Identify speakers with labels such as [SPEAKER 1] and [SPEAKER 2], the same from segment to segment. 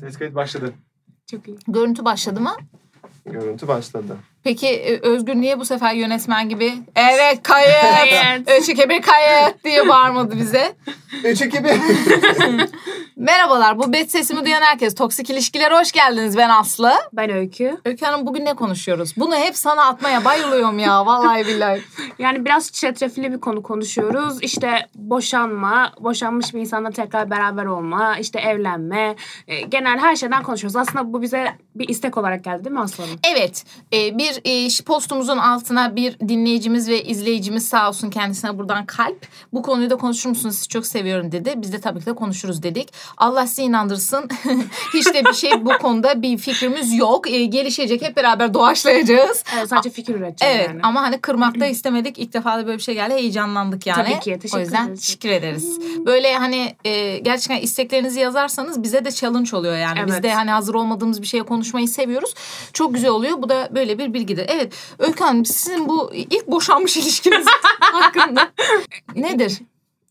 [SPEAKER 1] Ses kayıt başladı.
[SPEAKER 2] Çok iyi.
[SPEAKER 3] Görüntü başladı mı?
[SPEAKER 1] Görüntü başladı.
[SPEAKER 3] Peki e, Özgür niye bu sefer yönetmen gibi evet kayıt,
[SPEAKER 2] Kayıt.
[SPEAKER 3] ölçü bir kayıt diye bağırmadı bize?
[SPEAKER 1] 3 2 1.
[SPEAKER 3] Merhabalar bu bet sesimi duyan herkes. Toksik ilişkilere hoş geldiniz ben Aslı.
[SPEAKER 2] Ben Öykü.
[SPEAKER 3] Öykü Hanım bugün ne konuşuyoruz? Bunu hep sana atmaya bayılıyorum ya vallahi billahi.
[SPEAKER 2] Yani biraz çetrefilli bir konu konuşuyoruz. İşte boşanma, boşanmış bir insanla tekrar beraber olma, işte evlenme. e, genel her şeyden konuşuyoruz. Aslında bu bize bir istek olarak geldi değil mi Aslı Hanım?
[SPEAKER 3] Evet e, bir e, ş- postumuzun altına bir dinleyicimiz ve izleyicimiz sağ olsun kendisine buradan kalp. Bu konuyu da konuşur musunuz sizi çok seviyorum dedi. Biz de tabii ki de konuşuruz dedik. Allah sizi inandırsın. Hiç de bir şey bu konuda bir fikrimiz yok. E, gelişecek hep beraber doğaçlayacağız.
[SPEAKER 2] Evet, E, sadece fikir üreteceğiz
[SPEAKER 3] Evet
[SPEAKER 2] Şey yani.
[SPEAKER 3] ama hani kırmak da istemedik. İlk defa da böyle bir şey geldi. Heyecanlandık yani.
[SPEAKER 2] Tabii ki, teşekkür
[SPEAKER 3] O yüzden
[SPEAKER 2] ederiz.
[SPEAKER 3] teşekkür ederiz. Böyle hani e, gerçekten isteklerinizi yazarsanız bize de challenge oluyor yani. Biz
[SPEAKER 2] Evet.
[SPEAKER 3] de hani hazır olmadığımız bir şeye konuşmayı seviyoruz. Çok güzel oluyor. Bu da böyle bir bilgidir. Evet Öykü Hanım sizin bu ilk boşanmış ilişkiniz hakkında nedir?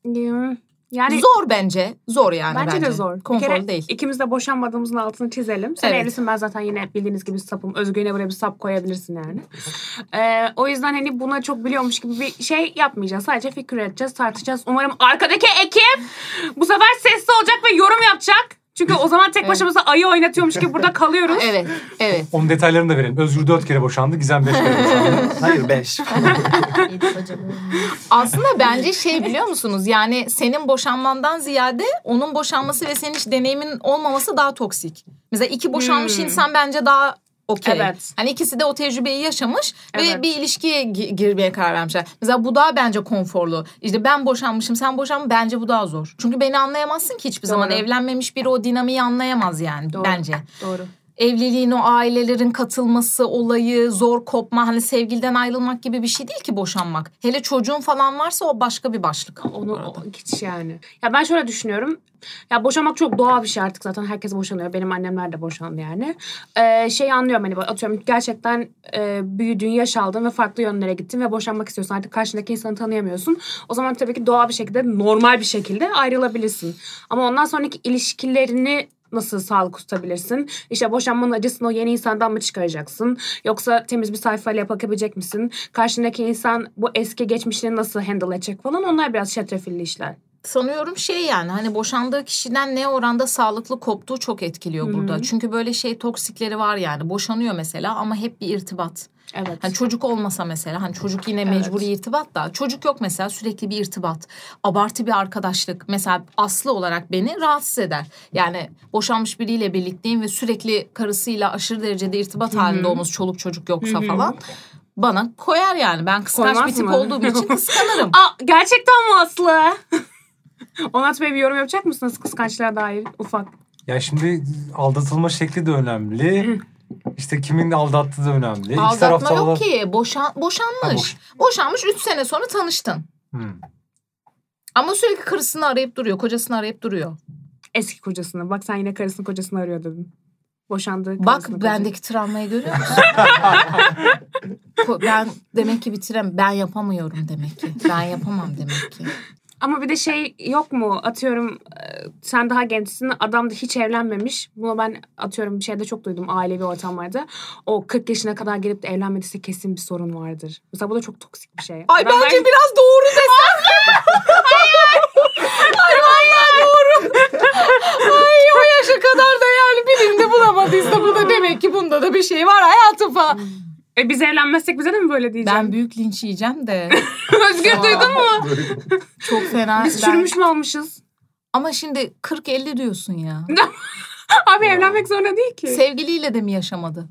[SPEAKER 2] Hmm, Yani
[SPEAKER 3] zor bence. Zor yani bence.
[SPEAKER 2] bence, de zor. Bir
[SPEAKER 3] Konforlu
[SPEAKER 2] kere
[SPEAKER 3] değil.
[SPEAKER 2] İkimiz de boşanmadığımızın altını çizelim. Sen
[SPEAKER 3] Evet.
[SPEAKER 2] evlisin ben zaten yine bildiğiniz gibi sapım. Özgü'ne buraya bir sap koyabilirsin yani. Ee, o yüzden hani buna çok biliyormuş gibi bir şey yapmayacağız. Sadece fikir üreteceğiz, tartışacağız. Umarım arkadaki ekip bu sefer sesli olacak ve yorum yapacak. Çünkü o zaman tek
[SPEAKER 3] Evet.
[SPEAKER 2] başımıza ayı oynatıyormuş gibi burada kalıyoruz.
[SPEAKER 3] Evet, evet.
[SPEAKER 4] Onun detaylarını da verelim. Özgür dört kere boşandı, Gizem beş kere boşandı.
[SPEAKER 1] Hayır 5.
[SPEAKER 3] Aslında bence şey biliyor musunuz? Yani senin boşanmandan ziyade onun boşanması ve senin hiç deneyimin olmaması daha toksik. Mesela iki boşanmış
[SPEAKER 2] Hmm.
[SPEAKER 3] insan bence daha okey.
[SPEAKER 2] Evet.
[SPEAKER 3] Hani ikisi de o tecrübeyi yaşamış ve
[SPEAKER 2] Evet.
[SPEAKER 3] bir ilişkiye gi- girmeye karar vermişler. Mesela bu daha bence konforlu. İşte ben boşanmışım, sen boşanma bence bu daha zor. Çünkü beni anlayamazsın ki hiçbir zaman.
[SPEAKER 2] Doğru.
[SPEAKER 3] Evlenmemiş biri o dinamiği anlayamaz yani
[SPEAKER 2] Doğru.
[SPEAKER 3] bence
[SPEAKER 2] Doğru.
[SPEAKER 3] evliliğin o ailelerin katılması olayı zor kopma hani sevgiliden ayrılmak gibi bir şey değil ki boşanmak. Hele çocuğun falan varsa o başka bir başlık.
[SPEAKER 2] Onu o- hiç yani. Ya ben şöyle düşünüyorum. Ya boşanmak çok doğal bir şey artık zaten. Herkes boşanıyor. Benim annemler de boşandı yani. Ee, şey anlıyorum hani atıyorum gerçekten e, büyüdün, yaş aldın ve farklı yönlere gittin ve boşanmak istiyorsun. Artık karşındaki insanı tanıyamıyorsun. O zaman tabii ki doğal bir şekilde, normal bir şekilde ayrılabilirsin. Ama ondan sonraki ilişkilerini nasıl sağlık tutabilirsin? İşte boşanmanın acısını o yeni insandan mı çıkaracaksın? Yoksa temiz bir sayfayla bakabilecek misin? Karşındaki insan bu eski geçmişini nasıl handle edecek falan onlar biraz şetrefilli işler.
[SPEAKER 3] Sanıyorum şey yani hani boşandığı kişiden ne oranda sağlıklı koptuğu çok etkiliyor
[SPEAKER 2] Hı hı.
[SPEAKER 3] burada. Çünkü böyle şey toksikleri var yani boşanıyor mesela ama hep bir irtibat.
[SPEAKER 2] Evet.
[SPEAKER 3] Hani çocuk olmasa mesela hani çocuk yine mecburi irtibat da çocuk yok mesela sürekli bir irtibat. Abartı bir arkadaşlık mesela Aslı olarak beni rahatsız eder. Yani boşanmış biriyle birlikteyim ve sürekli karısıyla aşırı derecede irtibat halinde olması çoluk çocuk yoksa
[SPEAKER 2] Hı hı.
[SPEAKER 3] falan bana koyar yani. Ben kıskanç
[SPEAKER 2] Koymaz
[SPEAKER 3] bir tip
[SPEAKER 2] mı?
[SPEAKER 3] olduğum için kıskanırım.
[SPEAKER 2] Aa, gerçekten mi Aslı? Onat Bey bir yorum yapacak mısınız kıskançlığa dair ufak?
[SPEAKER 4] ya şimdi aldatılma şekli de önemli. İşte kimin aldattığı da önemli. İki taraf
[SPEAKER 3] Aldatma
[SPEAKER 4] da
[SPEAKER 3] yok
[SPEAKER 4] aldat-
[SPEAKER 3] ki. Boşan, boşanmış.
[SPEAKER 4] Ha, boş-
[SPEAKER 3] Boşanmış 3 sene sonra tanıştın.
[SPEAKER 4] Hmm.
[SPEAKER 3] Ama sürekli karısını arayıp duruyor. Kocasını arayıp duruyor.
[SPEAKER 2] Eski kocasını. Bak sen yine karısını kocasını arıyor dedin. Boşandı.
[SPEAKER 3] Bak bendeki travmayı görüyor musun? Ko- ben demek ki bitirem ben yapamıyorum demek ki. Ben yapamam demek ki.
[SPEAKER 2] Ama bir de şey yok mu? Atıyorum e, sen daha gençsin. Adam da hiç evlenmemiş. Bunu ben atıyorum bir şeyde çok duydum ailevi ortamlarda. O 40 yaşına kadar gelip de evlenmediyse kesin bir sorun vardır. Mesela bu da çok toksik bir şey.
[SPEAKER 3] Ay
[SPEAKER 2] Adam
[SPEAKER 3] bence
[SPEAKER 2] belki-
[SPEAKER 3] biraz doğru desem. Ay vallahi doğru. Ay o yaşa kadar da yani birinde bulamadıysa bu da demek ki bunda da bir şey var hayatım falan.
[SPEAKER 2] E, biz evlenmezsek bize de mi böyle
[SPEAKER 3] Ben
[SPEAKER 2] diyeceğim?
[SPEAKER 3] büyük linç yiyeceğim de
[SPEAKER 2] Özgür
[SPEAKER 3] Aa.
[SPEAKER 2] duydun mu?
[SPEAKER 3] çok fena.
[SPEAKER 2] Biz
[SPEAKER 3] ben-
[SPEAKER 2] çürümüş mü olmuşuz?
[SPEAKER 3] Ama şimdi 40-50 diyorsun ya.
[SPEAKER 2] Abi evlenmek zorunda değil ki.
[SPEAKER 3] Sevgiliyle de mi yaşamadı?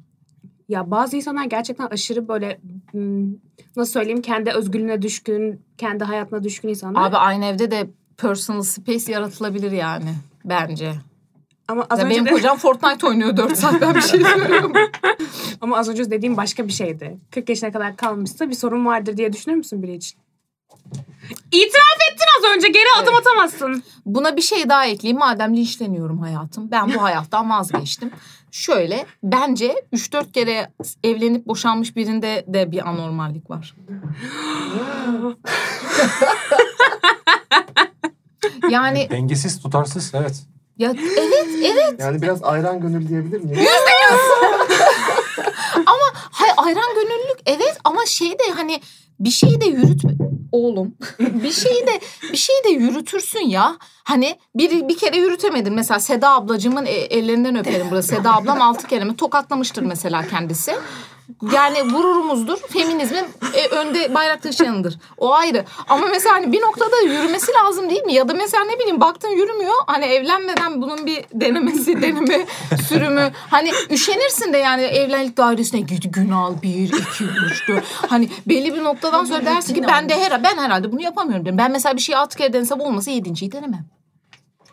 [SPEAKER 2] Ya bazı insanlar gerçekten aşırı böyle hmm, nasıl söyleyeyim kendi özgürlüğüne düşkün, kendi hayatına düşkün insanlar.
[SPEAKER 3] Abi aynı evde de personal space yaratılabilir yani bence.
[SPEAKER 2] ama az
[SPEAKER 3] Ya
[SPEAKER 2] önce
[SPEAKER 3] benim
[SPEAKER 2] de-
[SPEAKER 3] kocam Fortnite oynuyor 4 saat ben bir şey söylüyorum.
[SPEAKER 2] ama az önce dediğim başka bir şeydi. 40 yaşına kadar kalmışsa bir sorun vardır diye düşünür müsün biri için? İtiraf ettin az önce geri adım
[SPEAKER 3] Evet.
[SPEAKER 2] atamazsın.
[SPEAKER 3] Buna bir şey daha ekleyeyim. Madem linçleniyorum hayatım. Ben bu hayattan vazgeçtim. Şöyle bence 3-4 kere evlenip boşanmış birinde de bir anormallik var. Yani
[SPEAKER 4] Dengesiz, tutarsız evet.
[SPEAKER 3] Ya evet evet.
[SPEAKER 1] Yani biraz ayran gönül diyebilir miyim?
[SPEAKER 3] Hay ayran gönüllülük evet ama şey de hani bir şeyi de yürüt oğlum. bir şeyi de bir şeyi de yürütürsün ya. Hani bir bir kere yürütemedin mesela Seda ablacığımın e- ellerinden öperim burası. Seda ablam altı kere mi tokatlamıştır mesela kendisi. Yani gururumuzdur. Feminizmin e, önde bayrak taşıyanıdır. O ayrı. Ama mesela hani bir noktada yürümesi lazım değil mi? Ya da mesela ne bileyim baktın yürümüyor. Hani evlenmeden bunun bir denemesi, deneme, sürümü. Hani üşenirsin de yani evlilik dairesine git gün al bir, iki, üç, dört. Hani belli bir noktadan sonra dersin ki ben de her, ben herhalde bunu yapamıyorum derim. Ben mesela bir şeyi altı kere denesem olmasa yedinciyi denemem.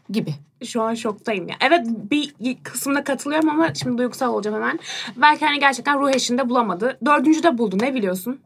[SPEAKER 3] Gibi.
[SPEAKER 2] Şu an şoktayım ya. Evet bir kısımda katılıyorum ama şimdi duygusal olacağım hemen. Belki hani gerçekten ruh eşinde bulamadı. Dördüncü de buldu ne biliyorsun?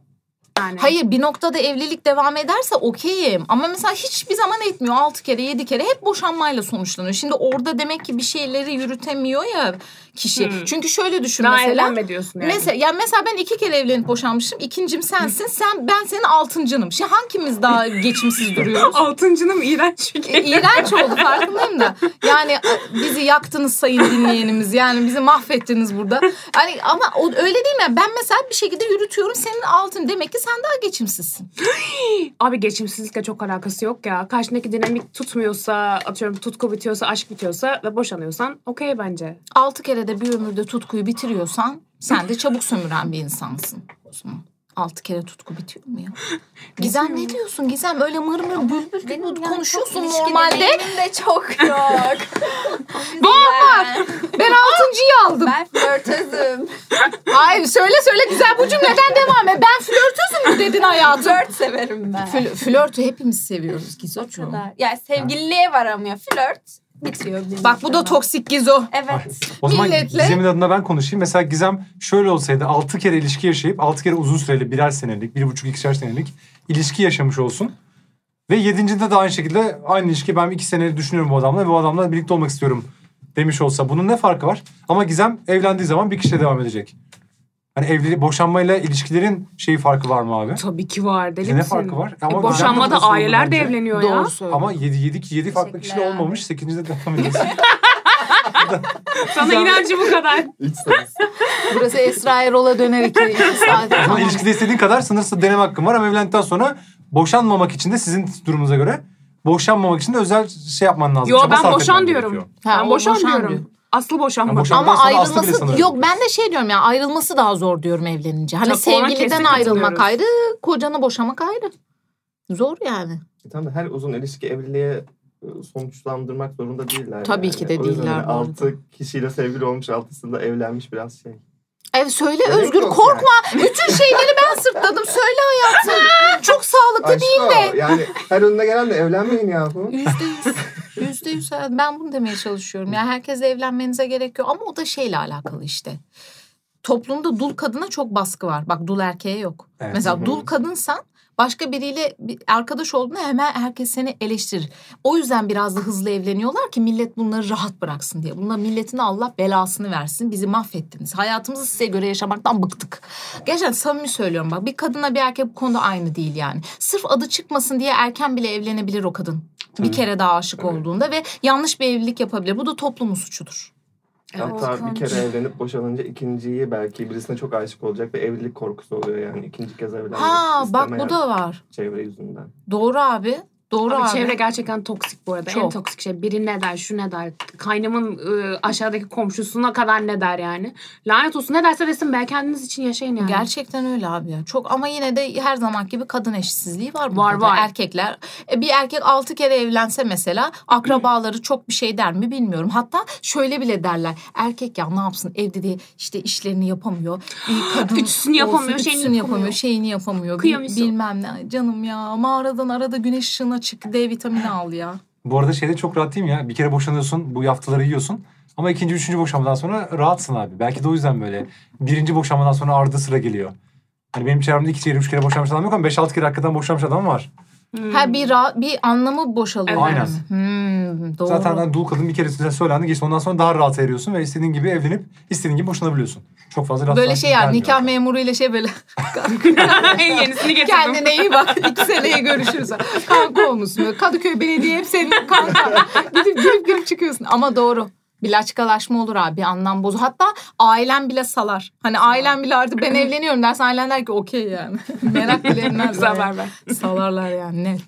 [SPEAKER 2] Yani.
[SPEAKER 3] Hayır bir noktada evlilik devam ederse okeyim. Ama mesela hiçbir zaman etmiyor. Altı kere yedi kere hep boşanmayla sonuçlanıyor. Şimdi orada demek ki bir şeyleri yürütemiyor ya kişi.
[SPEAKER 2] Hmm.
[SPEAKER 3] Çünkü şöyle düşün
[SPEAKER 2] Daha
[SPEAKER 3] mesela.
[SPEAKER 2] evlenme diyorsun yani.
[SPEAKER 3] Mesela, yani mesela ben iki kere evlenip boşanmışım. İkincim sensin. Sen ben senin altıncınım. Şimdi hangimiz daha geçimsiz duruyoruz?
[SPEAKER 2] Altıncının iğrenç bir şey.
[SPEAKER 3] E, İğrenç oldu farkındayım da. Yani a, bizi yaktınız sayın dinleyenimiz. Yani bizi mahvettiniz burada. Hani ama o, öyle değil mi? Ben mesela bir şekilde yürütüyorum. Senin altın demek ki sen daha geçimsizsin.
[SPEAKER 2] Abi geçimsizlikle çok alakası yok ya. Karşındaki dinamik tutmuyorsa, atıyorum tutku bitiyorsa, aşk bitiyorsa ve boşanıyorsan okey bence.
[SPEAKER 3] Altı kere de bir ömürde tutkuyu bitiriyorsan sen de çabuk sömüren bir insansın. O zaman altı kere tutku bitiyor mu ya? Gizem ne diyorsun Gizem? Öyle mır mır bülbül gibi
[SPEAKER 5] Benim yani
[SPEAKER 3] konuşuyorsun
[SPEAKER 5] çok ilişki
[SPEAKER 3] normalde.
[SPEAKER 5] deneyimim de çok yok.
[SPEAKER 3] Var. Ben altıncıyı aldım.
[SPEAKER 5] Ben flörtözüm.
[SPEAKER 3] Hayır söyle söyle güzel bu cümleden devam et. Ben flörtüzüm mü dedin hayatım?
[SPEAKER 5] Flört severim ben.
[SPEAKER 3] Fl- flörtü hepimiz seviyoruz
[SPEAKER 5] O
[SPEAKER 3] Gizo'cuğum.
[SPEAKER 5] kadar. Yani sevgililiğe varamıyor. Flört bitiyor. benim
[SPEAKER 3] Bak bu da
[SPEAKER 5] zaman.
[SPEAKER 3] toksik Gizo.
[SPEAKER 5] Evet.
[SPEAKER 4] O zaman
[SPEAKER 3] Milletle-
[SPEAKER 4] Gizem'in adına ben konuşayım. Mesela Gizem şöyle olsaydı 6 kere ilişki yaşayıp 6 kere uzun süreli birer senelik, bir buçuk ikişer senelik ilişki yaşamış olsun. Ve yedincinde de aynı şekilde aynı ilişki ben iki senedir düşünüyorum bu adamla ve bu adamla birlikte olmak istiyorum demiş olsa bunun ne farkı var? Ama Gizem evlendiği zaman bir kişiyle devam edecek. Hani evli boşanmayla ilişkilerin şeyi farkı var mı abi?
[SPEAKER 2] Tabii ki var deli
[SPEAKER 4] Ne
[SPEAKER 2] misin?
[SPEAKER 4] farkı var?
[SPEAKER 2] E,
[SPEAKER 4] Ama Gizem de
[SPEAKER 2] boşanmada
[SPEAKER 4] nasıl oldu
[SPEAKER 2] aileler de
[SPEAKER 4] bence?
[SPEAKER 2] evleniyor ya.
[SPEAKER 3] Doğru söylüyor.
[SPEAKER 4] Ama 7 7 7 farklı kişiyle
[SPEAKER 5] Teşekkürler abi.
[SPEAKER 4] olmamış. 8. devam ediyorsun.
[SPEAKER 2] Sana inancı bu kadar.
[SPEAKER 1] İç ses.
[SPEAKER 3] Burası Esra Erol'a döner iki, iki saat.
[SPEAKER 4] Ama
[SPEAKER 3] Tamam.
[SPEAKER 4] ilişkide istediğin kadar sınırsız deneme hakkın var ama evlendikten sonra boşanmamak için de sizin durumunuza göre boşanmamak için de özel şey yapman lazım.
[SPEAKER 2] Yo
[SPEAKER 4] çaba sarf
[SPEAKER 2] ben
[SPEAKER 4] etmen
[SPEAKER 2] boşan diyorum.
[SPEAKER 4] gerekiyor.
[SPEAKER 3] Ha,
[SPEAKER 2] ben
[SPEAKER 3] o
[SPEAKER 2] boşan,
[SPEAKER 3] boşan
[SPEAKER 2] diyorum.
[SPEAKER 3] diyor.
[SPEAKER 2] Aslı boşanma.
[SPEAKER 4] Ya boşan-
[SPEAKER 3] Ama
[SPEAKER 4] Ondan sonra hasta bile sanırım.
[SPEAKER 3] ayrılması yok ben de şey diyorum ya ayrılması daha zor diyorum evlenince. Hani
[SPEAKER 2] Tabii, ona kesin
[SPEAKER 3] sevgiliden ayrılmak
[SPEAKER 2] katılıyoruz.
[SPEAKER 3] ayrı, kocanı boşamak ayrı. Zor yani.
[SPEAKER 1] Tam da her uzun ilişki evliliğe e, sonuçlandırmak zorunda değiller.
[SPEAKER 3] Tabii
[SPEAKER 1] yani.
[SPEAKER 3] ki de
[SPEAKER 1] O yüzden
[SPEAKER 3] değiller
[SPEAKER 1] hani
[SPEAKER 3] bu arada.
[SPEAKER 1] Altı kişiyle sevgili olmuş, altısında evlenmiş biraz şey.
[SPEAKER 3] Ev söyle
[SPEAKER 1] Gerek
[SPEAKER 3] Özgür
[SPEAKER 1] yok
[SPEAKER 3] korkma. Bütün şeyleri ben sırtladım. Söyle hayatım. Çok sağlıklı
[SPEAKER 1] Aşk
[SPEAKER 3] değil
[SPEAKER 1] o.
[SPEAKER 3] mi?
[SPEAKER 1] Yani her önüne gelenle evlenmeyin yahu.
[SPEAKER 3] Yüzde yüz. Yüzde yüz. hayatım. Ben bunu demeye çalışıyorum. Yani herkesle evlenmenize gerek yok. Ama o da şeyle alakalı işte. Toplumda dul kadına çok baskı var. Bak dul erkeğe yok.
[SPEAKER 4] Evet.
[SPEAKER 1] Hı
[SPEAKER 3] Mesela
[SPEAKER 1] hı.
[SPEAKER 3] dul kadınsan başka biriyle bir arkadaş olduğunda hemen herkes seni eleştirir. O yüzden biraz da hızlı evleniyorlar ki millet bunları rahat bıraksın diye. Bunlar milletin Allah belasını versin. Bizi mahvettiniz. Hayatımızı size göre yaşamaktan bıktık. Gerçekten samimi söylüyorum bak. Bir kadınla bir erkek bu konuda aynı değil yani. Sırf adı çıkmasın diye erken bile evlenebilir o kadın. Bir
[SPEAKER 4] Tabii.
[SPEAKER 3] kere daha aşık olduğunda ve yanlış bir evlilik yapabilir. Bu da toplumun suçudur.
[SPEAKER 1] Hatta bir
[SPEAKER 5] korkunç.
[SPEAKER 1] kere evlenip boşanınca ikinciyi belki birisine çok aşık olacak ve evlilik korkusu oluyor yani. ikinci kez evlenmek
[SPEAKER 3] Ha bak
[SPEAKER 1] istemeyen
[SPEAKER 3] bu da var.
[SPEAKER 1] çevre yüzünden.
[SPEAKER 3] Doğru abi. Doğru abi.
[SPEAKER 2] Abi çevre gerçekten toksik bu arada. En
[SPEAKER 3] Çok.
[SPEAKER 2] toksik şey biri ne der, şu ne der. Kaynımın ıı, aşağıdaki komşusuna kadar ne der yani. Lanet olsun ne derse desin ben kendiniz için yaşayın yani.
[SPEAKER 3] Gerçekten öyle abi ya. Çok ama yine de her zaman gibi kadın eşitsizliği var
[SPEAKER 2] Var,
[SPEAKER 3] burada.
[SPEAKER 2] var.
[SPEAKER 3] Erkekler e, bir erkek altı kere evlense mesela akrabaları çok bir şey der mi bilmiyorum. Hatta şöyle bile derler. Erkek ya ne yapsın evde de işte işlerini yapamıyor. Bir kadın
[SPEAKER 2] Ütüsünü yapamıyor, şeyini
[SPEAKER 3] ütüsünü
[SPEAKER 2] yapamıyor.
[SPEAKER 3] şeyini yapamıyor. Bil-
[SPEAKER 2] Kıyamış o.
[SPEAKER 3] bilmem ne. Ay Canım ya mağaradan arada güneş ışığına çık D vitamini al ya.
[SPEAKER 4] Bu arada şeyde çok rahat değil mi ya? Bir kere boşanıyorsun, bu yaftaları yiyorsun. Ama ikinci, üçüncü boşanmadan sonra rahatsın abi. Belki de o yüzden böyle. Birinci boşanmadan sonra ardı sıra geliyor. Hani benim çevremde iki kere, üç kere boşanmış adam yok ama beş, altı kere hakikaten boşanmış adam var.
[SPEAKER 3] Ha bir ra- bir anlamı boşalıyor.
[SPEAKER 2] Evet.
[SPEAKER 4] Aynen.
[SPEAKER 3] Hmm, doğru.
[SPEAKER 4] Zaten hani dul kadın bir kere size söylendi. Geçti. Ondan sonra daha rahat eriyorsun ve istediğin gibi evlenip istediğin gibi boşanabiliyorsun. Çok fazla laf
[SPEAKER 3] böyle
[SPEAKER 4] saati
[SPEAKER 3] şey ya
[SPEAKER 4] gelmiyor.
[SPEAKER 3] nikah memuruyla şey böyle
[SPEAKER 2] en yenisini getirdim.
[SPEAKER 3] kendine iyi bak iki seneye görüşürüz. Kanka olmuşsun. Böyle Kadıköy Belediye hep senin kanka. Gidip girip girip çıkıyorsun. Ama doğru. Bir laçkalaşma olur abi anlam bozu. Hatta ailen bile salar. Hani ailen bile artık ben evleniyorum dersen ailen der ki okey yani. Merak bile etmezler.
[SPEAKER 2] Güzel
[SPEAKER 3] yani.
[SPEAKER 2] haber ver.
[SPEAKER 3] Salarlar yani net.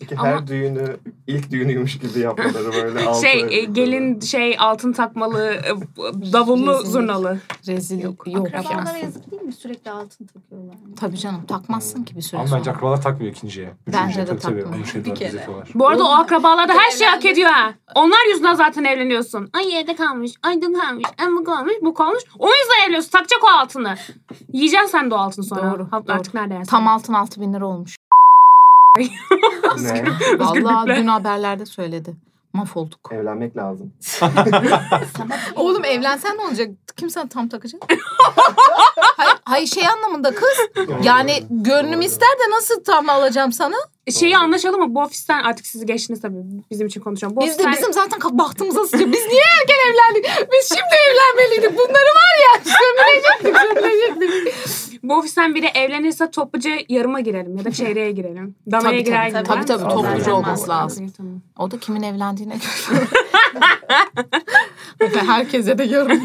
[SPEAKER 1] Peki
[SPEAKER 2] Ama-
[SPEAKER 1] her düğünü ilk düğünüymüş gibi yapmaları böyle. altı
[SPEAKER 2] Şey
[SPEAKER 1] evlilik
[SPEAKER 2] e, gelin şey altın takmalı e, b- davullu
[SPEAKER 3] Rezillik.
[SPEAKER 2] zurnalı.
[SPEAKER 3] Rezil yok.
[SPEAKER 2] Yok,
[SPEAKER 3] yok
[SPEAKER 2] akrabalar
[SPEAKER 3] yani.
[SPEAKER 5] Adamlara yazık değil mi? Sürekli altın takıyorlar.
[SPEAKER 3] Tabii canım takmazsın ki bir süre
[SPEAKER 4] Ama
[SPEAKER 3] sonra.
[SPEAKER 4] bence akrabalar takmıyor ikinciye.
[SPEAKER 3] Bence
[SPEAKER 4] Üçüncüye
[SPEAKER 3] de
[SPEAKER 4] tabii tabii.
[SPEAKER 3] takmıyor.
[SPEAKER 4] Onu şey
[SPEAKER 5] Bir
[SPEAKER 4] diyorlar,
[SPEAKER 5] kere.
[SPEAKER 4] biz yapıyorlar.
[SPEAKER 2] Bu arada o akrabalarda her şey hak
[SPEAKER 5] Evlendim.
[SPEAKER 2] ediyor ha. Onlar yüzünden zaten evleniyorsun. Ay evde kalmış, ay dün kalmış, ay bu kalmış, bu kalmış. O yüzden evleniyorsun. Takacak o altını. Yiyeceksin sen de o altını sonra.
[SPEAKER 3] Doğru,
[SPEAKER 2] Ha- Artık nerede yersin?
[SPEAKER 3] Tam altın altı bin lira olmuş.
[SPEAKER 1] Ne?
[SPEAKER 3] Allah
[SPEAKER 2] Özgürlükle.
[SPEAKER 3] dün haberlerde söyledi. Mahvolduk.
[SPEAKER 1] Evlenmek lazım.
[SPEAKER 5] Sana
[SPEAKER 3] Oğlum evlensen ne olacak? Kim sana tam takacak? hayır, hayır şey anlamında kız. Yani gönlüm ister de nasıl tam alacağım sana?
[SPEAKER 2] Şeyi anlaşalım mı? Bu ofisten artık sizi geçtiniz tabii. Bizim için konuşuyorum. Bu
[SPEAKER 3] Biz de
[SPEAKER 2] ofisten-
[SPEAKER 3] bizim zaten ka- bahtımıza sıçıyor. Biz niye erken evlendik? Biz şimdi evlenmeliydik. Bunları var ya sömürecektik, sömürecektik.
[SPEAKER 2] Bu ofisten biri evlenirse topluca yarıma girelim ya da çeyreğe girelim. Damaya
[SPEAKER 3] Tabii,
[SPEAKER 2] girer
[SPEAKER 3] tabii,
[SPEAKER 2] gibi.
[SPEAKER 3] tabii, tabii,
[SPEAKER 1] topluca olması
[SPEAKER 3] lazım.
[SPEAKER 2] Tamam.
[SPEAKER 3] O da kimin evlendiğine göre. Efe, herkese de yorum.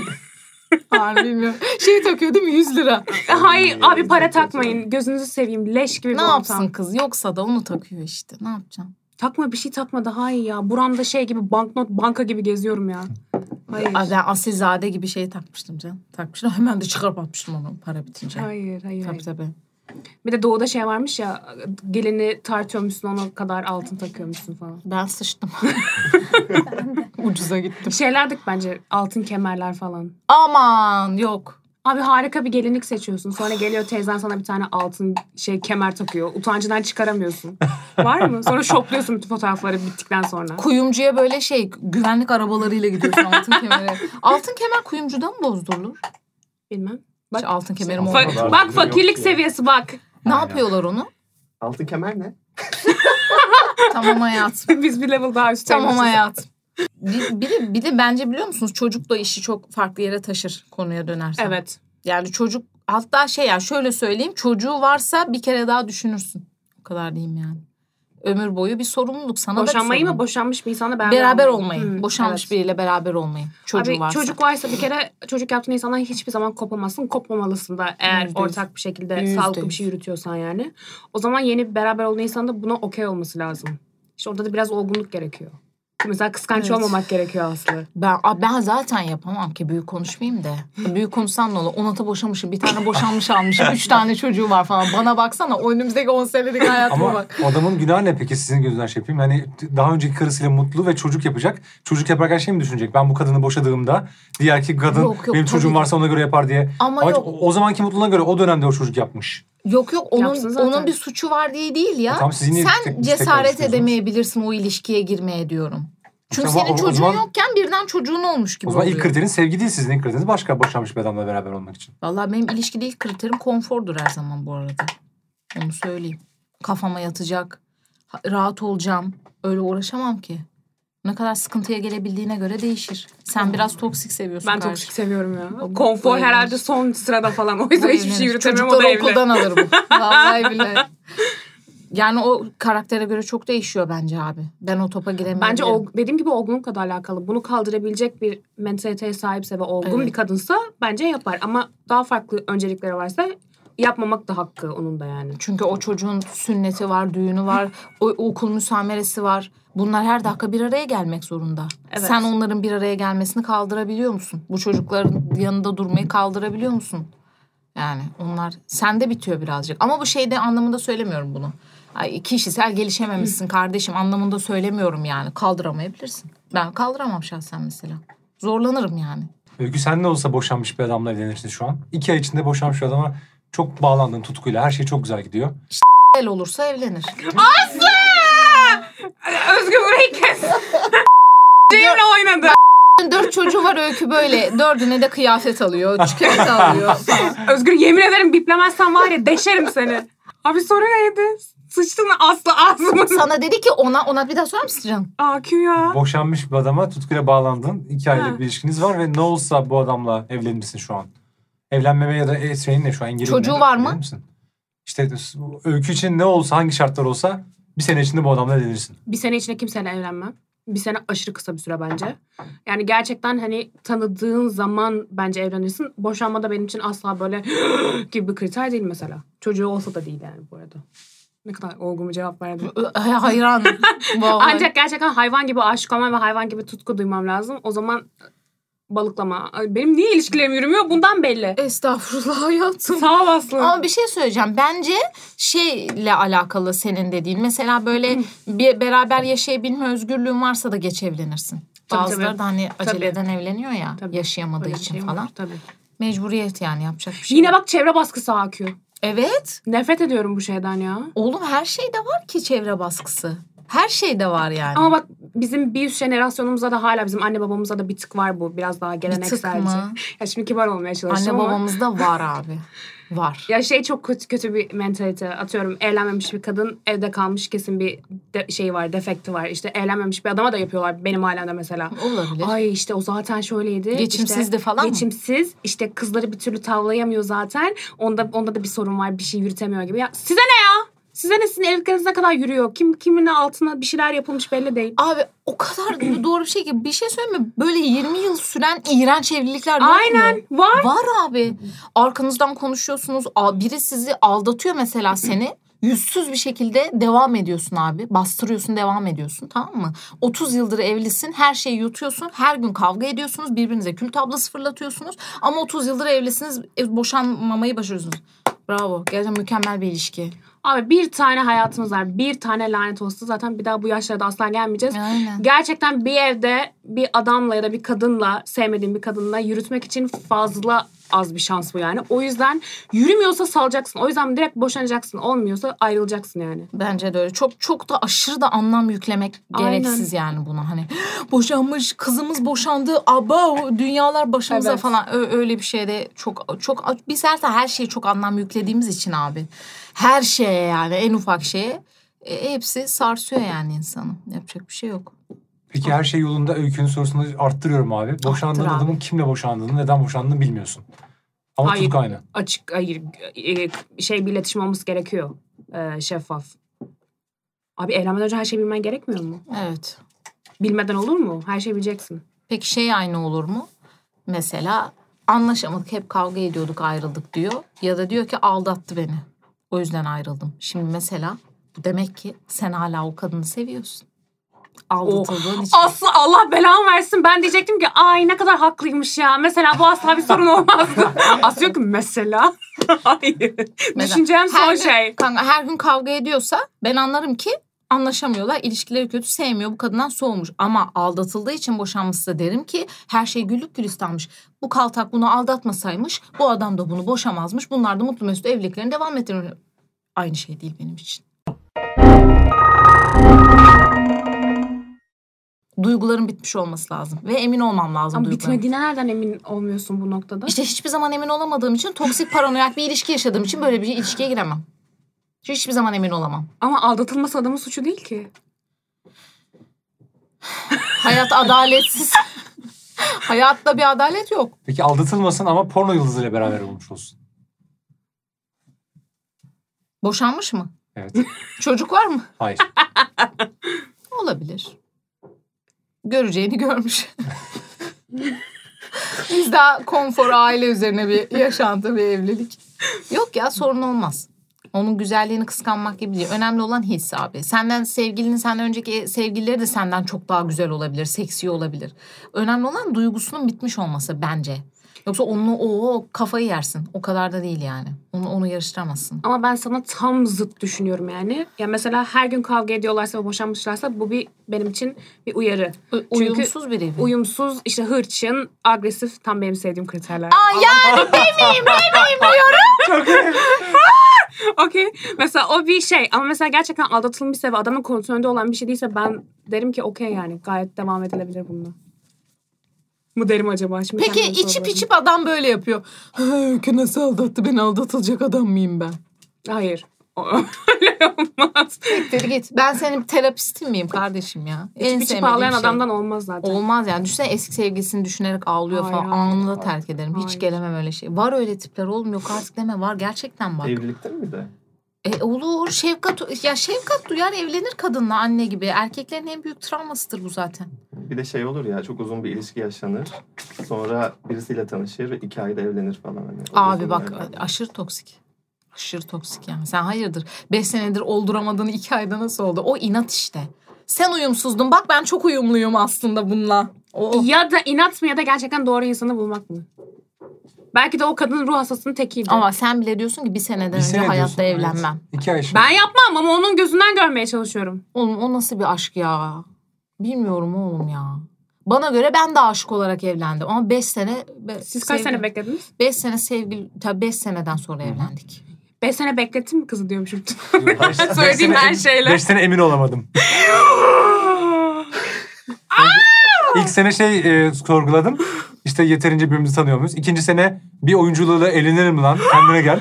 [SPEAKER 3] Harbi bilmiyorum. Şey takıyor değil mi? 100 lira.
[SPEAKER 2] Hayır
[SPEAKER 1] Ay,
[SPEAKER 2] abi para
[SPEAKER 1] çok kötü.
[SPEAKER 2] takmayın. Gözünüzü seveyim. Leş gibi bir
[SPEAKER 3] Ne
[SPEAKER 2] ortam.
[SPEAKER 3] yapsın kız? Yoksa da onu takıyor işte. Ne yapacağım?
[SPEAKER 2] Takma bir şey takma daha iyi ya. Buramda şey gibi banknot banka gibi geziyorum ya. Hayır.
[SPEAKER 3] Ay, Ben asilzade gibi şey takmıştım canım. Takmıştım. Hemen de çıkarıp atmıştım onu para bitince.
[SPEAKER 2] Hayır, hayır,
[SPEAKER 3] Tabii
[SPEAKER 2] hayır.
[SPEAKER 3] tabii.
[SPEAKER 2] Bir de doğuda şey varmış ya gelini tartıyormuşsun ona kadar altın takıyormuşsun falan.
[SPEAKER 3] Ben sıçtım. Ucuza gittim.
[SPEAKER 2] Şeylerdik bence altın kemerler falan.
[SPEAKER 3] Aman yok.
[SPEAKER 2] Abi harika bir gelinlik seçiyorsun. Sonra geliyor teyzen sana bir tane altın şey kemer takıyor. Utancından çıkaramıyorsun. Var mı? Sonra şokluyorsun bütün fotoğrafları bittikten sonra.
[SPEAKER 3] Kuyumcuya böyle şey güvenlik arabalarıyla gidiyorsun altın kemere. altın kemer kuyumcuda mı bozdurulur? Hiç
[SPEAKER 2] Bilmem. Bak,
[SPEAKER 3] altın kemerim
[SPEAKER 4] Fa-
[SPEAKER 3] olmadı.
[SPEAKER 2] Fa- bak fakirlik seviyesi bak.
[SPEAKER 3] Ne
[SPEAKER 4] Aynen.
[SPEAKER 3] yapıyorlar onu?
[SPEAKER 1] Altın kemer ne?
[SPEAKER 3] tamam hayatım.
[SPEAKER 2] Biz bir level daha üstteymişiz.
[SPEAKER 3] Tamam hayatım. Bir, bir, de, bir de bence biliyor musunuz çocuk da işi çok farklı yere taşır konuya dönersen.
[SPEAKER 2] Evet.
[SPEAKER 3] Yani çocuk hatta şey ya şöyle söyleyeyim çocuğu varsa bir kere daha düşünürsün. O kadar diyeyim yani. Ömür boyu bir sorumluluk sana da bir
[SPEAKER 2] Boşanmayı mı
[SPEAKER 3] sorumluluk.
[SPEAKER 2] boşanmış bir insanla beraber,
[SPEAKER 3] Beraber
[SPEAKER 2] olmayı.
[SPEAKER 3] olmayı.
[SPEAKER 2] Hı,
[SPEAKER 3] Boşanmış
[SPEAKER 2] evet.
[SPEAKER 3] biriyle beraber olmayı. Çocuğu
[SPEAKER 2] Abi
[SPEAKER 3] varsa.
[SPEAKER 2] çocuk varsa bir kere çocuk yaptığın insandan hiçbir zaman kopamazsın. Kopmamalısın da eğer
[SPEAKER 3] Yüzde yüz.
[SPEAKER 2] ortak bir şekilde
[SPEAKER 3] Yüzde
[SPEAKER 2] sağlıklı
[SPEAKER 3] yüz.
[SPEAKER 2] bir şey yürütüyorsan yani. O zaman yeni bir beraber olduğun insan da buna okey olması lazım. İşte orada da biraz olgunluk gerekiyor. Mesela kıskanç
[SPEAKER 3] Evet.
[SPEAKER 2] olmamak gerekiyor Aslı.
[SPEAKER 3] Ben, a- ben zaten yapamam ki büyük konuşmayayım da. Büyük konuşsam ne olur? Onata boşamışım. Bir tane boşanmış almışım. Üç tane çocuğu var falan. Bana baksana. o Önümüzdeki on senelik hayatıma
[SPEAKER 4] Ama
[SPEAKER 3] bak.
[SPEAKER 4] adamın günahı ne peki sizin gözden şey yapayım? Hani daha önceki karısıyla mutlu ve çocuk yapacak. Çocuk yaparken şey mi düşünecek? Ben bu kadını boşadığımda diğer ki kadın
[SPEAKER 3] Yok, yok,
[SPEAKER 4] benim çocuğum
[SPEAKER 3] tabii.
[SPEAKER 4] varsa ona göre yapar diye.
[SPEAKER 3] Ama,
[SPEAKER 4] Ama
[SPEAKER 3] yok.
[SPEAKER 4] o, o zamanki mutluluğuna göre o dönemde o çocuk yapmış.
[SPEAKER 3] Yok yok
[SPEAKER 2] Yapsın
[SPEAKER 3] onun
[SPEAKER 2] zaten.
[SPEAKER 3] onun bir suçu var diye değil ya.
[SPEAKER 4] E tamam, siz yine tek-
[SPEAKER 3] Sen
[SPEAKER 4] biz tekrar
[SPEAKER 3] cesaret
[SPEAKER 4] istiyorsunuz.
[SPEAKER 3] edemeyebilirsin o ilişkiye girmeye diyorum. Çünkü
[SPEAKER 4] Tamam,
[SPEAKER 3] senin
[SPEAKER 4] o- o
[SPEAKER 3] çocuğun
[SPEAKER 4] zaman-
[SPEAKER 3] yokken birden çocuğun olmuş gibi
[SPEAKER 4] O zaman ilk
[SPEAKER 3] oluyor.
[SPEAKER 4] kriterin sevgi değil sizin ilk kriteriniz başka boşanmış bir adamla beraber olmak için.
[SPEAKER 3] Vallahi benim ilişkide ilk kriterim konfordur her zaman bu arada. Onu söyleyeyim. Kafama yatacak. ha- Rahat olacağım. Öyle uğraşamam ki. Ne kadar sıkıntıya gelebildiğine göre değişir. Sen biraz toksik seviyorsun.
[SPEAKER 2] Ben
[SPEAKER 3] kardeşim.
[SPEAKER 2] toksik seviyorum ya.
[SPEAKER 3] O-
[SPEAKER 2] Konfor
[SPEAKER 3] o
[SPEAKER 2] herhalde
[SPEAKER 3] evlenir.
[SPEAKER 2] son sırada falan. O yüzden hiçbir şey
[SPEAKER 3] Evlenir.
[SPEAKER 2] yürütemem o
[SPEAKER 3] Çocukları
[SPEAKER 2] da evli.
[SPEAKER 3] okuldan alır bu. Vallahi billahi. Yani o karaktere göre çok değişiyor bence abi. Ben o topa giremiyorum.
[SPEAKER 2] Bence o, dediğim gibi olgunlukla da alakalı. Bunu kaldırabilecek bir mentaliteye sahipse ve olgun
[SPEAKER 3] Evet.
[SPEAKER 2] bir kadınsa bence yapar. Ama daha farklı öncelikleri varsa yapmamak da hakkı onun da yani.
[SPEAKER 3] Çünkü o çocuğun sünneti var, düğünü var, o, okul müsameresi var. Bunlar her dakika bir araya gelmek zorunda.
[SPEAKER 2] Evet.
[SPEAKER 3] Sen onların bir araya gelmesini kaldırabiliyor musun? Bu çocukların yanında durmayı kaldırabiliyor musun? Yani onlar sende bitiyor birazcık. Ama bu şeyde anlamında söylemiyorum bunu. Ay, kişisel gelişememişsin kardeşim anlamında söylemiyorum yani. Kaldıramayabilirsin. Ben kaldıramam şahsen mesela. Zorlanırım yani.
[SPEAKER 4] Öykü sen ne olsa boşanmış bir adamla evlenirsin şu an. İki ay içinde boşanmış bir adama çok bağlandın tutkuyla. Her şey çok güzel gidiyor.
[SPEAKER 3] El olursa evlenir.
[SPEAKER 2] Özgür burayı kes. Cem'le oynadı.
[SPEAKER 3] Dört çocuğu var öykü böyle. Dördüne de kıyafet alıyor, çikolata alıyor falan.
[SPEAKER 2] Özgür yemin ederim biplemezsen var ya deşerim seni. Abi soru neydi? Sıçtı mı Aslı ağzıma?
[SPEAKER 3] Sana dedi ki ona ona bir daha sorar mısın canım?
[SPEAKER 2] AQ ya.
[SPEAKER 4] Boşanmış bir adama tutkuyla bağlandın. İki aylık
[SPEAKER 2] Ha.
[SPEAKER 4] bir ilişkiniz var ve ne olsa bu adamla evlenir misin şu an? Evlenmeme ya da e, şeyin ne şu an? Engelin
[SPEAKER 3] Çocuğu
[SPEAKER 4] ne?
[SPEAKER 3] var mı?
[SPEAKER 4] Evlenir misin? İşte öykü için ne olsa hangi şartlar olsa bir sene içinde bu adamla evlenirsin.
[SPEAKER 2] Bir sene içinde kimseyle evlenmem. Bir sene aşırı kısa bir süre bence. Yani gerçekten hani tanıdığın zaman bence evlenirsin. Boşanma da benim için asla böyle gibi bir kriter değil mesela. Çocuğu olsa da değil yani bu arada. Ne kadar olgun bir cevap verdim.
[SPEAKER 3] Ay, Hayran. Vallahi.
[SPEAKER 2] Ancak gerçekten hayvan gibi aşık olmam ve hayvan gibi tutku duymam lazım. O zaman balıklama. Ay, Benim niye ilişkilerim yürümüyor? Bundan belli.
[SPEAKER 3] Estağfurullah hayatım.
[SPEAKER 2] Sağ ol Aslı.
[SPEAKER 3] Ama bir şey söyleyeceğim. Bence şeyle alakalı senin dediğin. Mesela böyle bir beraber yaşayabilme özgürlüğün varsa da geç evlenirsin.
[SPEAKER 2] Tabii,
[SPEAKER 3] Bazıları
[SPEAKER 2] tabii.
[SPEAKER 3] da hani
[SPEAKER 2] Tabii.
[SPEAKER 3] aceleden evleniyor ya
[SPEAKER 2] Tabii.
[SPEAKER 3] yaşayamadığı
[SPEAKER 2] Öyle bir
[SPEAKER 3] için
[SPEAKER 2] şey var,
[SPEAKER 3] falan.
[SPEAKER 2] Tabii.
[SPEAKER 3] Mecburiyet yani yapacak bir şey.
[SPEAKER 2] Yine
[SPEAKER 3] yok.
[SPEAKER 2] bak çevre baskısı akıyor.
[SPEAKER 3] Evet.
[SPEAKER 2] Nefret ediyorum bu şeyden ya.
[SPEAKER 3] Oğlum her şeyde var ki çevre baskısı. Her şeyde var yani.
[SPEAKER 2] Ama bak bizim bir üst jenerasyonumuza da hala bizim anne babamıza da bir tık var bu. Biraz daha
[SPEAKER 3] bir tık
[SPEAKER 2] gelenekselci.
[SPEAKER 3] mı?
[SPEAKER 2] Ya şimdi kibar olmaya
[SPEAKER 3] Anne
[SPEAKER 2] çalışıyorum ama.
[SPEAKER 3] babamızda var abi. Var.
[SPEAKER 2] Ya şey çok kötü, kötü bir mentalite. Atıyorum evlenmemiş bir kadın evde kalmış kesin bir de- şey var, defekti var. İşte evlenmemiş bir adama da yapıyorlar benim ailemde mesela.
[SPEAKER 3] Olabilir.
[SPEAKER 2] Ay işte o zaten şöyleydi.
[SPEAKER 3] Geçimsizdi
[SPEAKER 2] işte,
[SPEAKER 3] falan mı?
[SPEAKER 2] Geçimsiz. İşte kızları bir türlü tavlayamıyor zaten. Onda onda da bir sorun var. Bir şey yürütemiyor gibi. Ya size ne ya? Size ne sizin evlilikleriniz ne kadar yürüyor? Kim kimin altına bir şeyler yapılmış belli değil.
[SPEAKER 3] Abi o kadar doğru bir şey ki bir şey söyleyeyim mi? Böyle 20 yıl süren iğrenç evlilikler yok mu?
[SPEAKER 2] Aynen var.
[SPEAKER 3] Var abi. Arkanızdan konuşuyorsunuz. A- Biri sizi aldatıyor mesela seni. Yüzsüz bir şekilde devam ediyorsun abi. Bastırıyorsun devam ediyorsun tamam mı? 30 yıldır evlisin her şeyi yutuyorsun. Her gün kavga ediyorsunuz. Birbirinize kül tablası fırlatıyorsunuz. Ama 30 yıldır evlisiniz. e, Boşanmamayı başarıyorsunuz. Bravo. Gerçekten mükemmel bir ilişki.
[SPEAKER 2] Abi bir tane hayatımız var. Bir tane lanet olsun. Zaten bir daha bu yaşlarda asla gelmeyeceğiz.
[SPEAKER 3] Aynen.
[SPEAKER 2] Gerçekten bir evde bir adamla ya da bir kadınla sevmediğin bir kadınla yürütmek için fazla az bir şans bu yani. O yüzden yürümüyorsa salacaksın. O yüzden direkt boşanacaksın. Olmuyorsa ayrılacaksın yani.
[SPEAKER 3] Bence de öyle. Çok çok da aşırı da anlam yüklemek
[SPEAKER 2] Aynen.
[SPEAKER 3] gereksiz yani buna. Hani boşanmış, kızımız boşandı. Aba dünyalar başımıza
[SPEAKER 2] Evet.
[SPEAKER 3] falan. Ö- öyle bir şeyde çok çok biz her her şeye çok anlam yüklediğimiz için abi. Her şeye yani en ufak şeye e, hepsi sarsıyor yani insanı. Yapacak bir şey yok.
[SPEAKER 4] Peki her şey yolunda öykünün sorusunu arttırıyorum abi. Boşandığın
[SPEAKER 3] Arttır abi.
[SPEAKER 4] adamın kimle boşandığını, neden boşandığını bilmiyorsun. Ama
[SPEAKER 2] Hayır.
[SPEAKER 4] tutku aynı.
[SPEAKER 2] Açık hayır e, şey bir iletişim olması gerekiyor. Ee, şeffaf. Abi evlenmeden önce her şeyi bilmen gerekmiyor mu?
[SPEAKER 3] Evet.
[SPEAKER 2] Bilmeden olur mu? Her şeyi bileceksin.
[SPEAKER 3] Peki şey aynı olur mu? Mesela anlaşamadık hep kavga ediyorduk ayrıldık diyor. Ya da diyor ki aldattı beni. O yüzden ayrıldım. Şimdi mesela bu demek ki sen hala o kadını seviyorsun. Aldatıldığın için.
[SPEAKER 2] Aslı Allah belamı versin. Ben diyecektim ki ay ne kadar haklıymış ya. Mesela bu asla bir sorun olmazdı. Aslı diyor ki mesela. Hayır.
[SPEAKER 3] Mesela
[SPEAKER 2] Düşüncem son
[SPEAKER 3] her gün-
[SPEAKER 2] şey.
[SPEAKER 3] Kanka her gün kavga ediyorsa ben anlarım ki anlaşamıyorlar. ilişkileri kötü sevmiyor. Bu kadından soğumuş. Ama aldatıldığı için boşanmışsa derim ki her şey güllük gülistanmış. Bu kaltak bunu aldatmasaymış bu adam da bunu boşamazmış. Bunlar da mutlu mesut evliliklerini devam ettirir. Aynı şey değil benim için. Duyguların bitmiş olması lazım. Ve emin olmam lazım
[SPEAKER 2] Ama
[SPEAKER 3] duygularım.
[SPEAKER 2] bitmediğine nereden emin olmuyorsun bu noktada?
[SPEAKER 3] İşte hiçbir zaman emin olamadığım için toksik paranoyak bir ilişki yaşadığım için böyle bir ilişkiye giremem. Çünkü hiçbir zaman emin olamam.
[SPEAKER 2] Ama aldatılması adamın suçu değil ki.
[SPEAKER 3] Hayat adaletsiz. Hayatta bir adalet yok.
[SPEAKER 4] Peki aldatılmasın ama porno yıldızıyla beraber olmuş olsun.
[SPEAKER 3] Boşanmış mı?
[SPEAKER 4] Evet.
[SPEAKER 3] Çocuk var mı?
[SPEAKER 4] Hayır.
[SPEAKER 3] Olabilir. Göreceğini görmüş. Biz daha konfor aile üzerine bir yaşantı bir evlilik. Yok ya sorun olmaz. Onun güzelliğini kıskanmak gibi değil. Önemli olan his abi. Senden sevgilinin senden önceki sevgilileri de senden çok daha güzel olabilir. Seksi olabilir. Önemli olan duygusunun bitmiş olması bence. Yoksa onu o kafayı yersin. O kadar da değil yani. Onu, onu yarıştıramazsın.
[SPEAKER 2] Ama ben sana tam zıt düşünüyorum yani. Ya mesela her gün kavga ediyorlarsa ve boşanmışlarsa bu bir benim için bir uyarı.
[SPEAKER 3] Ö-
[SPEAKER 2] Çünkü-
[SPEAKER 3] Uyumsuz bir evi.
[SPEAKER 2] Uyumsuz, işte hırçın, agresif tam benim sevdiğim kriterler.
[SPEAKER 3] Aa, yani demeyeyim demeyeyim diyorum.
[SPEAKER 2] Okey. Mesela o bir şey ama mesela gerçekten aldatılmışsa ve adamın kontrolünde olan bir şey değilse ben derim ki okey yani gayet devam edilebilir bununla. Mı derim acaba? Şimdi
[SPEAKER 3] Peki
[SPEAKER 2] kendime
[SPEAKER 3] içip
[SPEAKER 2] soruyorum.
[SPEAKER 3] içip adam böyle yapıyor. Ha, Öykü nasıl aldattı beni aldatılacak adam mıyım ben?
[SPEAKER 2] Hayır. Öyle olmaz.
[SPEAKER 3] Dedi git. Ben senin terapistin miyim kardeşim ya?
[SPEAKER 2] Hiçbir çip
[SPEAKER 3] sevmediğim
[SPEAKER 2] ağlayan
[SPEAKER 3] şey.
[SPEAKER 2] adamdan olmaz zaten.
[SPEAKER 3] Olmaz yani. Düşünsene eski sevgilisini düşünerek ağlıyor falan.
[SPEAKER 2] Hayır, hayır.
[SPEAKER 3] Anında terk ederim. Hiç
[SPEAKER 2] Hayır.
[SPEAKER 3] gelemem öyle şey. Var öyle tipler oğlum yok artık deme. Var gerçekten var.
[SPEAKER 1] Evlilikte mi bir de?
[SPEAKER 3] E, olur. Şefkat ya şefkat duyar evlenir kadınla anne gibi. Erkeklerin en büyük travmasıdır bu zaten.
[SPEAKER 1] Bir de şey olur ya çok uzun bir ilişki yaşanır. Sonra birisiyle tanışır ve iki ayda evlenir falan. Hani, O
[SPEAKER 3] Abi
[SPEAKER 1] uzun
[SPEAKER 3] bak
[SPEAKER 1] yani.
[SPEAKER 3] aşırı toksik. Aşırı toksik yani. Sen hayırdır? Beş senedir olduramadığın iki ayda nasıl oldu? O inat işte. Sen uyumsuzdun. Bak ben çok uyumluyum aslında bununla. O,
[SPEAKER 2] Ya da inat mı ya da gerçekten doğru insanı bulmak mı? Belki de o kadının ruh hastasının tekiydi.
[SPEAKER 3] ama sen bile diyorsun ki bir seneden önce
[SPEAKER 4] sene
[SPEAKER 3] hayatta
[SPEAKER 4] diyorsun,
[SPEAKER 3] evlenmem.
[SPEAKER 4] evet. İki ay şimdi.
[SPEAKER 2] Ben yapmam ama onun gözünden görmeye çalışıyorum.
[SPEAKER 3] Oğlum o nasıl bir aşk ya? Bilmiyorum oğlum ya. Bana göre ben de aşık olarak evlendim. Ama 5 sene... be-
[SPEAKER 2] Siz kaç
[SPEAKER 3] sevgili-
[SPEAKER 2] sene beklediniz?
[SPEAKER 3] Beş sene sevgili... Tabii 5 seneden sonra evlendik.
[SPEAKER 2] 5 sene beklettin mi kızı diyormuşum.
[SPEAKER 4] Beş- beş
[SPEAKER 2] Söylediğim
[SPEAKER 4] sene
[SPEAKER 2] her
[SPEAKER 4] em-
[SPEAKER 2] şeyle.
[SPEAKER 4] Beş sene emin olamadım. İlk sene şey e, sorguladım. İşte yeterince birbirimizi tanıyor muyuz? İkinci sene bir oyunculuğuyla elenirim lan. Kendine gel.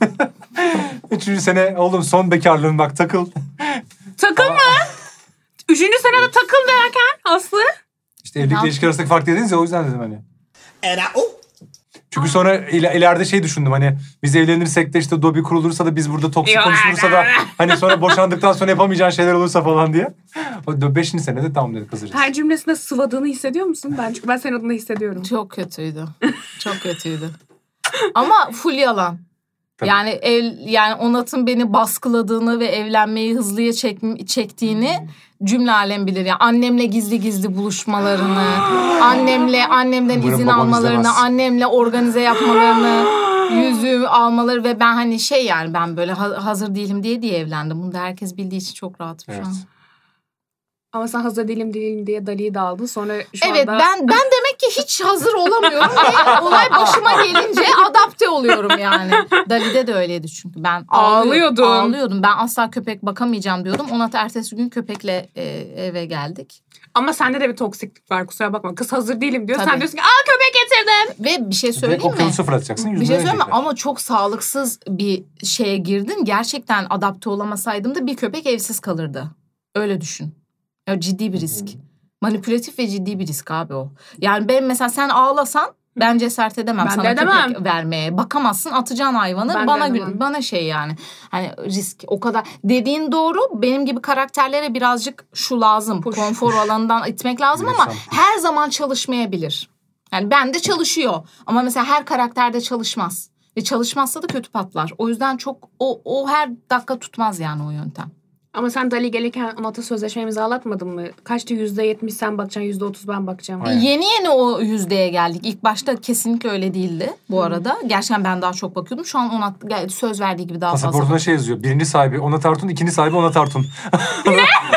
[SPEAKER 4] Üçüncü sene oğlum son bekarlığın bak takıl.
[SPEAKER 2] Takıl mı? Üçüncü senede takıl derken Aslı.
[SPEAKER 4] İşte evlilik
[SPEAKER 3] yaptın?
[SPEAKER 4] ilişki arasındaki fark dediniz ya o yüzden dedim hani.
[SPEAKER 6] And I, oh,
[SPEAKER 4] Çünkü sonra ile- ileride şey düşündüm hani biz evlenirsek de işte Dobby kurulursa da biz burada toksik
[SPEAKER 2] Yok,
[SPEAKER 4] konuşulursa da hani sonra boşandıktan sonra yapamayacağın şeyler olursa falan diye. O da beşinci senede tamam dedi kızacağız.
[SPEAKER 2] Her cümlesinde sıvadığını hissediyor musun? Ben çünkü ben senin adını hissediyorum.
[SPEAKER 3] Çok kötüydü. Çok kötüydü. Ama full yalan.
[SPEAKER 4] Tabii.
[SPEAKER 3] Yani ev, yani Onat'ın beni baskıladığını ve evlenmeyi hızlıya çek- çektiğini cümle alem bilir. Yani annemle gizli gizli buluşmalarını, annemle annemden
[SPEAKER 4] Umarım
[SPEAKER 3] izin
[SPEAKER 4] babam
[SPEAKER 3] almalarını,
[SPEAKER 4] izlemez.
[SPEAKER 3] annemle organize yapmalarını, yüzüğü almaları ve ben hani şey yani ben böyle ha- hazır değilim diye diye evlendim. Bunu da herkes bildiği için çok rahatım şu
[SPEAKER 4] Evet.
[SPEAKER 3] an.
[SPEAKER 2] Ama sen hazır değilim değilim diye Dali'yi de aldın. Sonra şu
[SPEAKER 3] evet
[SPEAKER 2] anda...
[SPEAKER 3] ben ben demek ki hiç hazır olamıyorum ve olay başıma gelince adapte oluyorum yani. Dalide de öyleydi çünkü ben
[SPEAKER 2] Ağlıyordun.
[SPEAKER 3] ağlıyordum. Ağlıyordum. Ben asla köpek bakamayacağım diyordum. Ona da ertesi gün köpekle e, eve geldik.
[SPEAKER 2] Ama sende de bir toksiklik var kusura bakma. Kız hazır değilim diyor. Sen
[SPEAKER 3] Tabii.
[SPEAKER 2] diyorsun ki aa köpek getirdim.
[SPEAKER 3] Ve bir şey
[SPEAKER 4] Direkt
[SPEAKER 3] söyleyeyim mi?
[SPEAKER 4] okyanusu fırlatacaksın.
[SPEAKER 3] Bir
[SPEAKER 4] yüzüne
[SPEAKER 3] şey söyleyeyim mi?
[SPEAKER 4] verecekler.
[SPEAKER 3] Ama çok sağlıksız bir şeye girdim. Gerçekten adapte olamasaydım da bir köpek evsiz kalırdı. Öyle düşün. Ya ciddi bir risk. Manipülatif ve ciddi bir risk abi o. Yani ben mesela sen ağlasan ben cesaret edemem
[SPEAKER 2] Ben de
[SPEAKER 3] sana
[SPEAKER 2] edemem.
[SPEAKER 3] köpek vermeye. Bakamazsın atacaksın hayvanı.
[SPEAKER 2] Ben de
[SPEAKER 3] bana
[SPEAKER 2] edemem.
[SPEAKER 3] bana şey yani. Hani risk o kadar. Dediğin doğru. Benim gibi karakterlere birazcık şu lazım.
[SPEAKER 2] Push.
[SPEAKER 3] Konfor alanından itmek lazım ama
[SPEAKER 4] İnsan push.
[SPEAKER 3] her zaman çalışmayabilir. Yani ben de çalışıyor ama mesela her karakterde çalışmaz. Ve çalışmazsa da kötü patlar. O yüzden çok o, o her dakika tutmaz yani o yöntem.
[SPEAKER 2] Ama sen Dali gelirken Onat'a sözleşme imzalatmadın mı? Kaçtı yüzde yetmiş sen bakacaksın yüzde otuz ben bakacağım.
[SPEAKER 4] Aynen.
[SPEAKER 3] Yeni yeni o yüzdeye geldik. İlk başta kesinlikle öyle değildi bu arada. Gerçekten ben daha çok bakıyordum. Şu an ona gel- söz verdiği gibi daha fazla.
[SPEAKER 4] Pasaportuna şey yazıyor. Birinci sahibi ona tartun, ikinci sahibi ona tartun.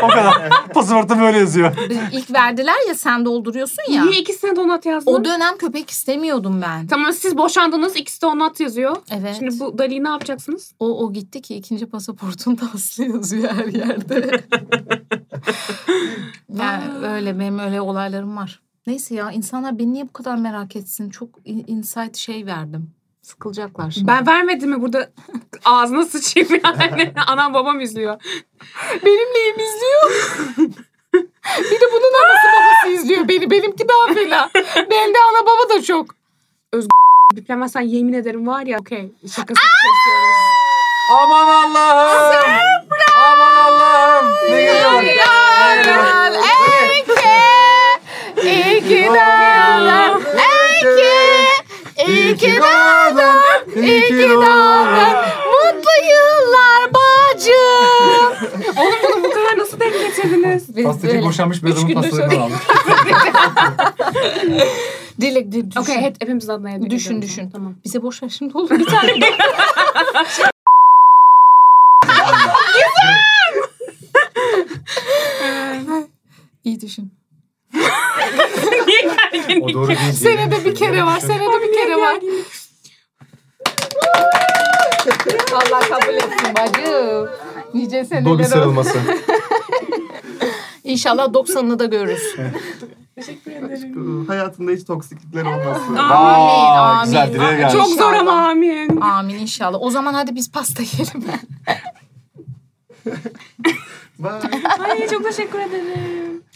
[SPEAKER 4] o kadar. Pasaportta böyle yazıyor.
[SPEAKER 3] İlk verdiler ya sen dolduruyorsun ya.
[SPEAKER 2] Niye ikisine de Onat yazdın?
[SPEAKER 3] O dönem köpek istemiyordum ben.
[SPEAKER 2] Tamam siz boşandınız ikisi de Onat yazıyor.
[SPEAKER 3] Evet.
[SPEAKER 2] Şimdi bu Dali'yi ne yapacaksınız?
[SPEAKER 3] O, o gitti ki ikinci pasaportunda Aslı yazıyor her yerde. yani öyle benim öyle olaylarım var. Neyse ya insanlar beni niye bu kadar merak etsin? Çok in- insight şey verdim. Sıkılacaklar şimdi.
[SPEAKER 2] Ben vermedim mi burada ağzına sıçayım yani. Anam babam izliyor.
[SPEAKER 3] benim neyim izliyor? bir de bunun anası babası izliyor beni. Benimki daha fena. Bende ana baba da çok.
[SPEAKER 2] Biplemezsen yemin ederim var ya okey şakasını kesiyoruz.
[SPEAKER 4] Aman Allah'ım. Aman Allah'ım. Ne geliyor? Ne geliyor?
[SPEAKER 3] İyi ki
[SPEAKER 4] doğdun. İyi ki doğdun. İyi ki doğdun.
[SPEAKER 3] Mutlu yıllar bacım.
[SPEAKER 2] Oğlum bunu bu kadar nasıl denk getirdiniz?
[SPEAKER 4] Pastacı boşanmış bir adamın
[SPEAKER 3] gündür
[SPEAKER 4] pastalarından almış.
[SPEAKER 3] Dilek de düşün.
[SPEAKER 2] Okey hep, hepimizin adına yedik.
[SPEAKER 3] Düşün,
[SPEAKER 2] ediyorum.
[SPEAKER 3] düşün.
[SPEAKER 2] Tamam.
[SPEAKER 3] Bize boş ver şimdi oğlum bir tane daha. İyi düşün.
[SPEAKER 2] Niye gerginlik?
[SPEAKER 1] O doğru değil.
[SPEAKER 3] Senede bir kere var, senede bir kere var. Allah kabul etsin bacım. Nice
[SPEAKER 1] Dobi
[SPEAKER 3] seneler olsun.
[SPEAKER 1] sarılması.
[SPEAKER 3] İnşallah 90'ını da görürüz.
[SPEAKER 2] Teşekkür ederim.
[SPEAKER 1] hayatında hiç toksiklikler olmasın.
[SPEAKER 2] Aa,
[SPEAKER 3] Amin,
[SPEAKER 4] güzel
[SPEAKER 3] amin.
[SPEAKER 4] dileğe
[SPEAKER 3] Aa,
[SPEAKER 4] geldi.
[SPEAKER 2] Çok zor
[SPEAKER 3] İnşallah.
[SPEAKER 2] ama amin.
[SPEAKER 3] Amin inşallah. O zaman hadi biz pasta yiyelim.
[SPEAKER 1] Bye.
[SPEAKER 2] Ay çok teşekkür ederim.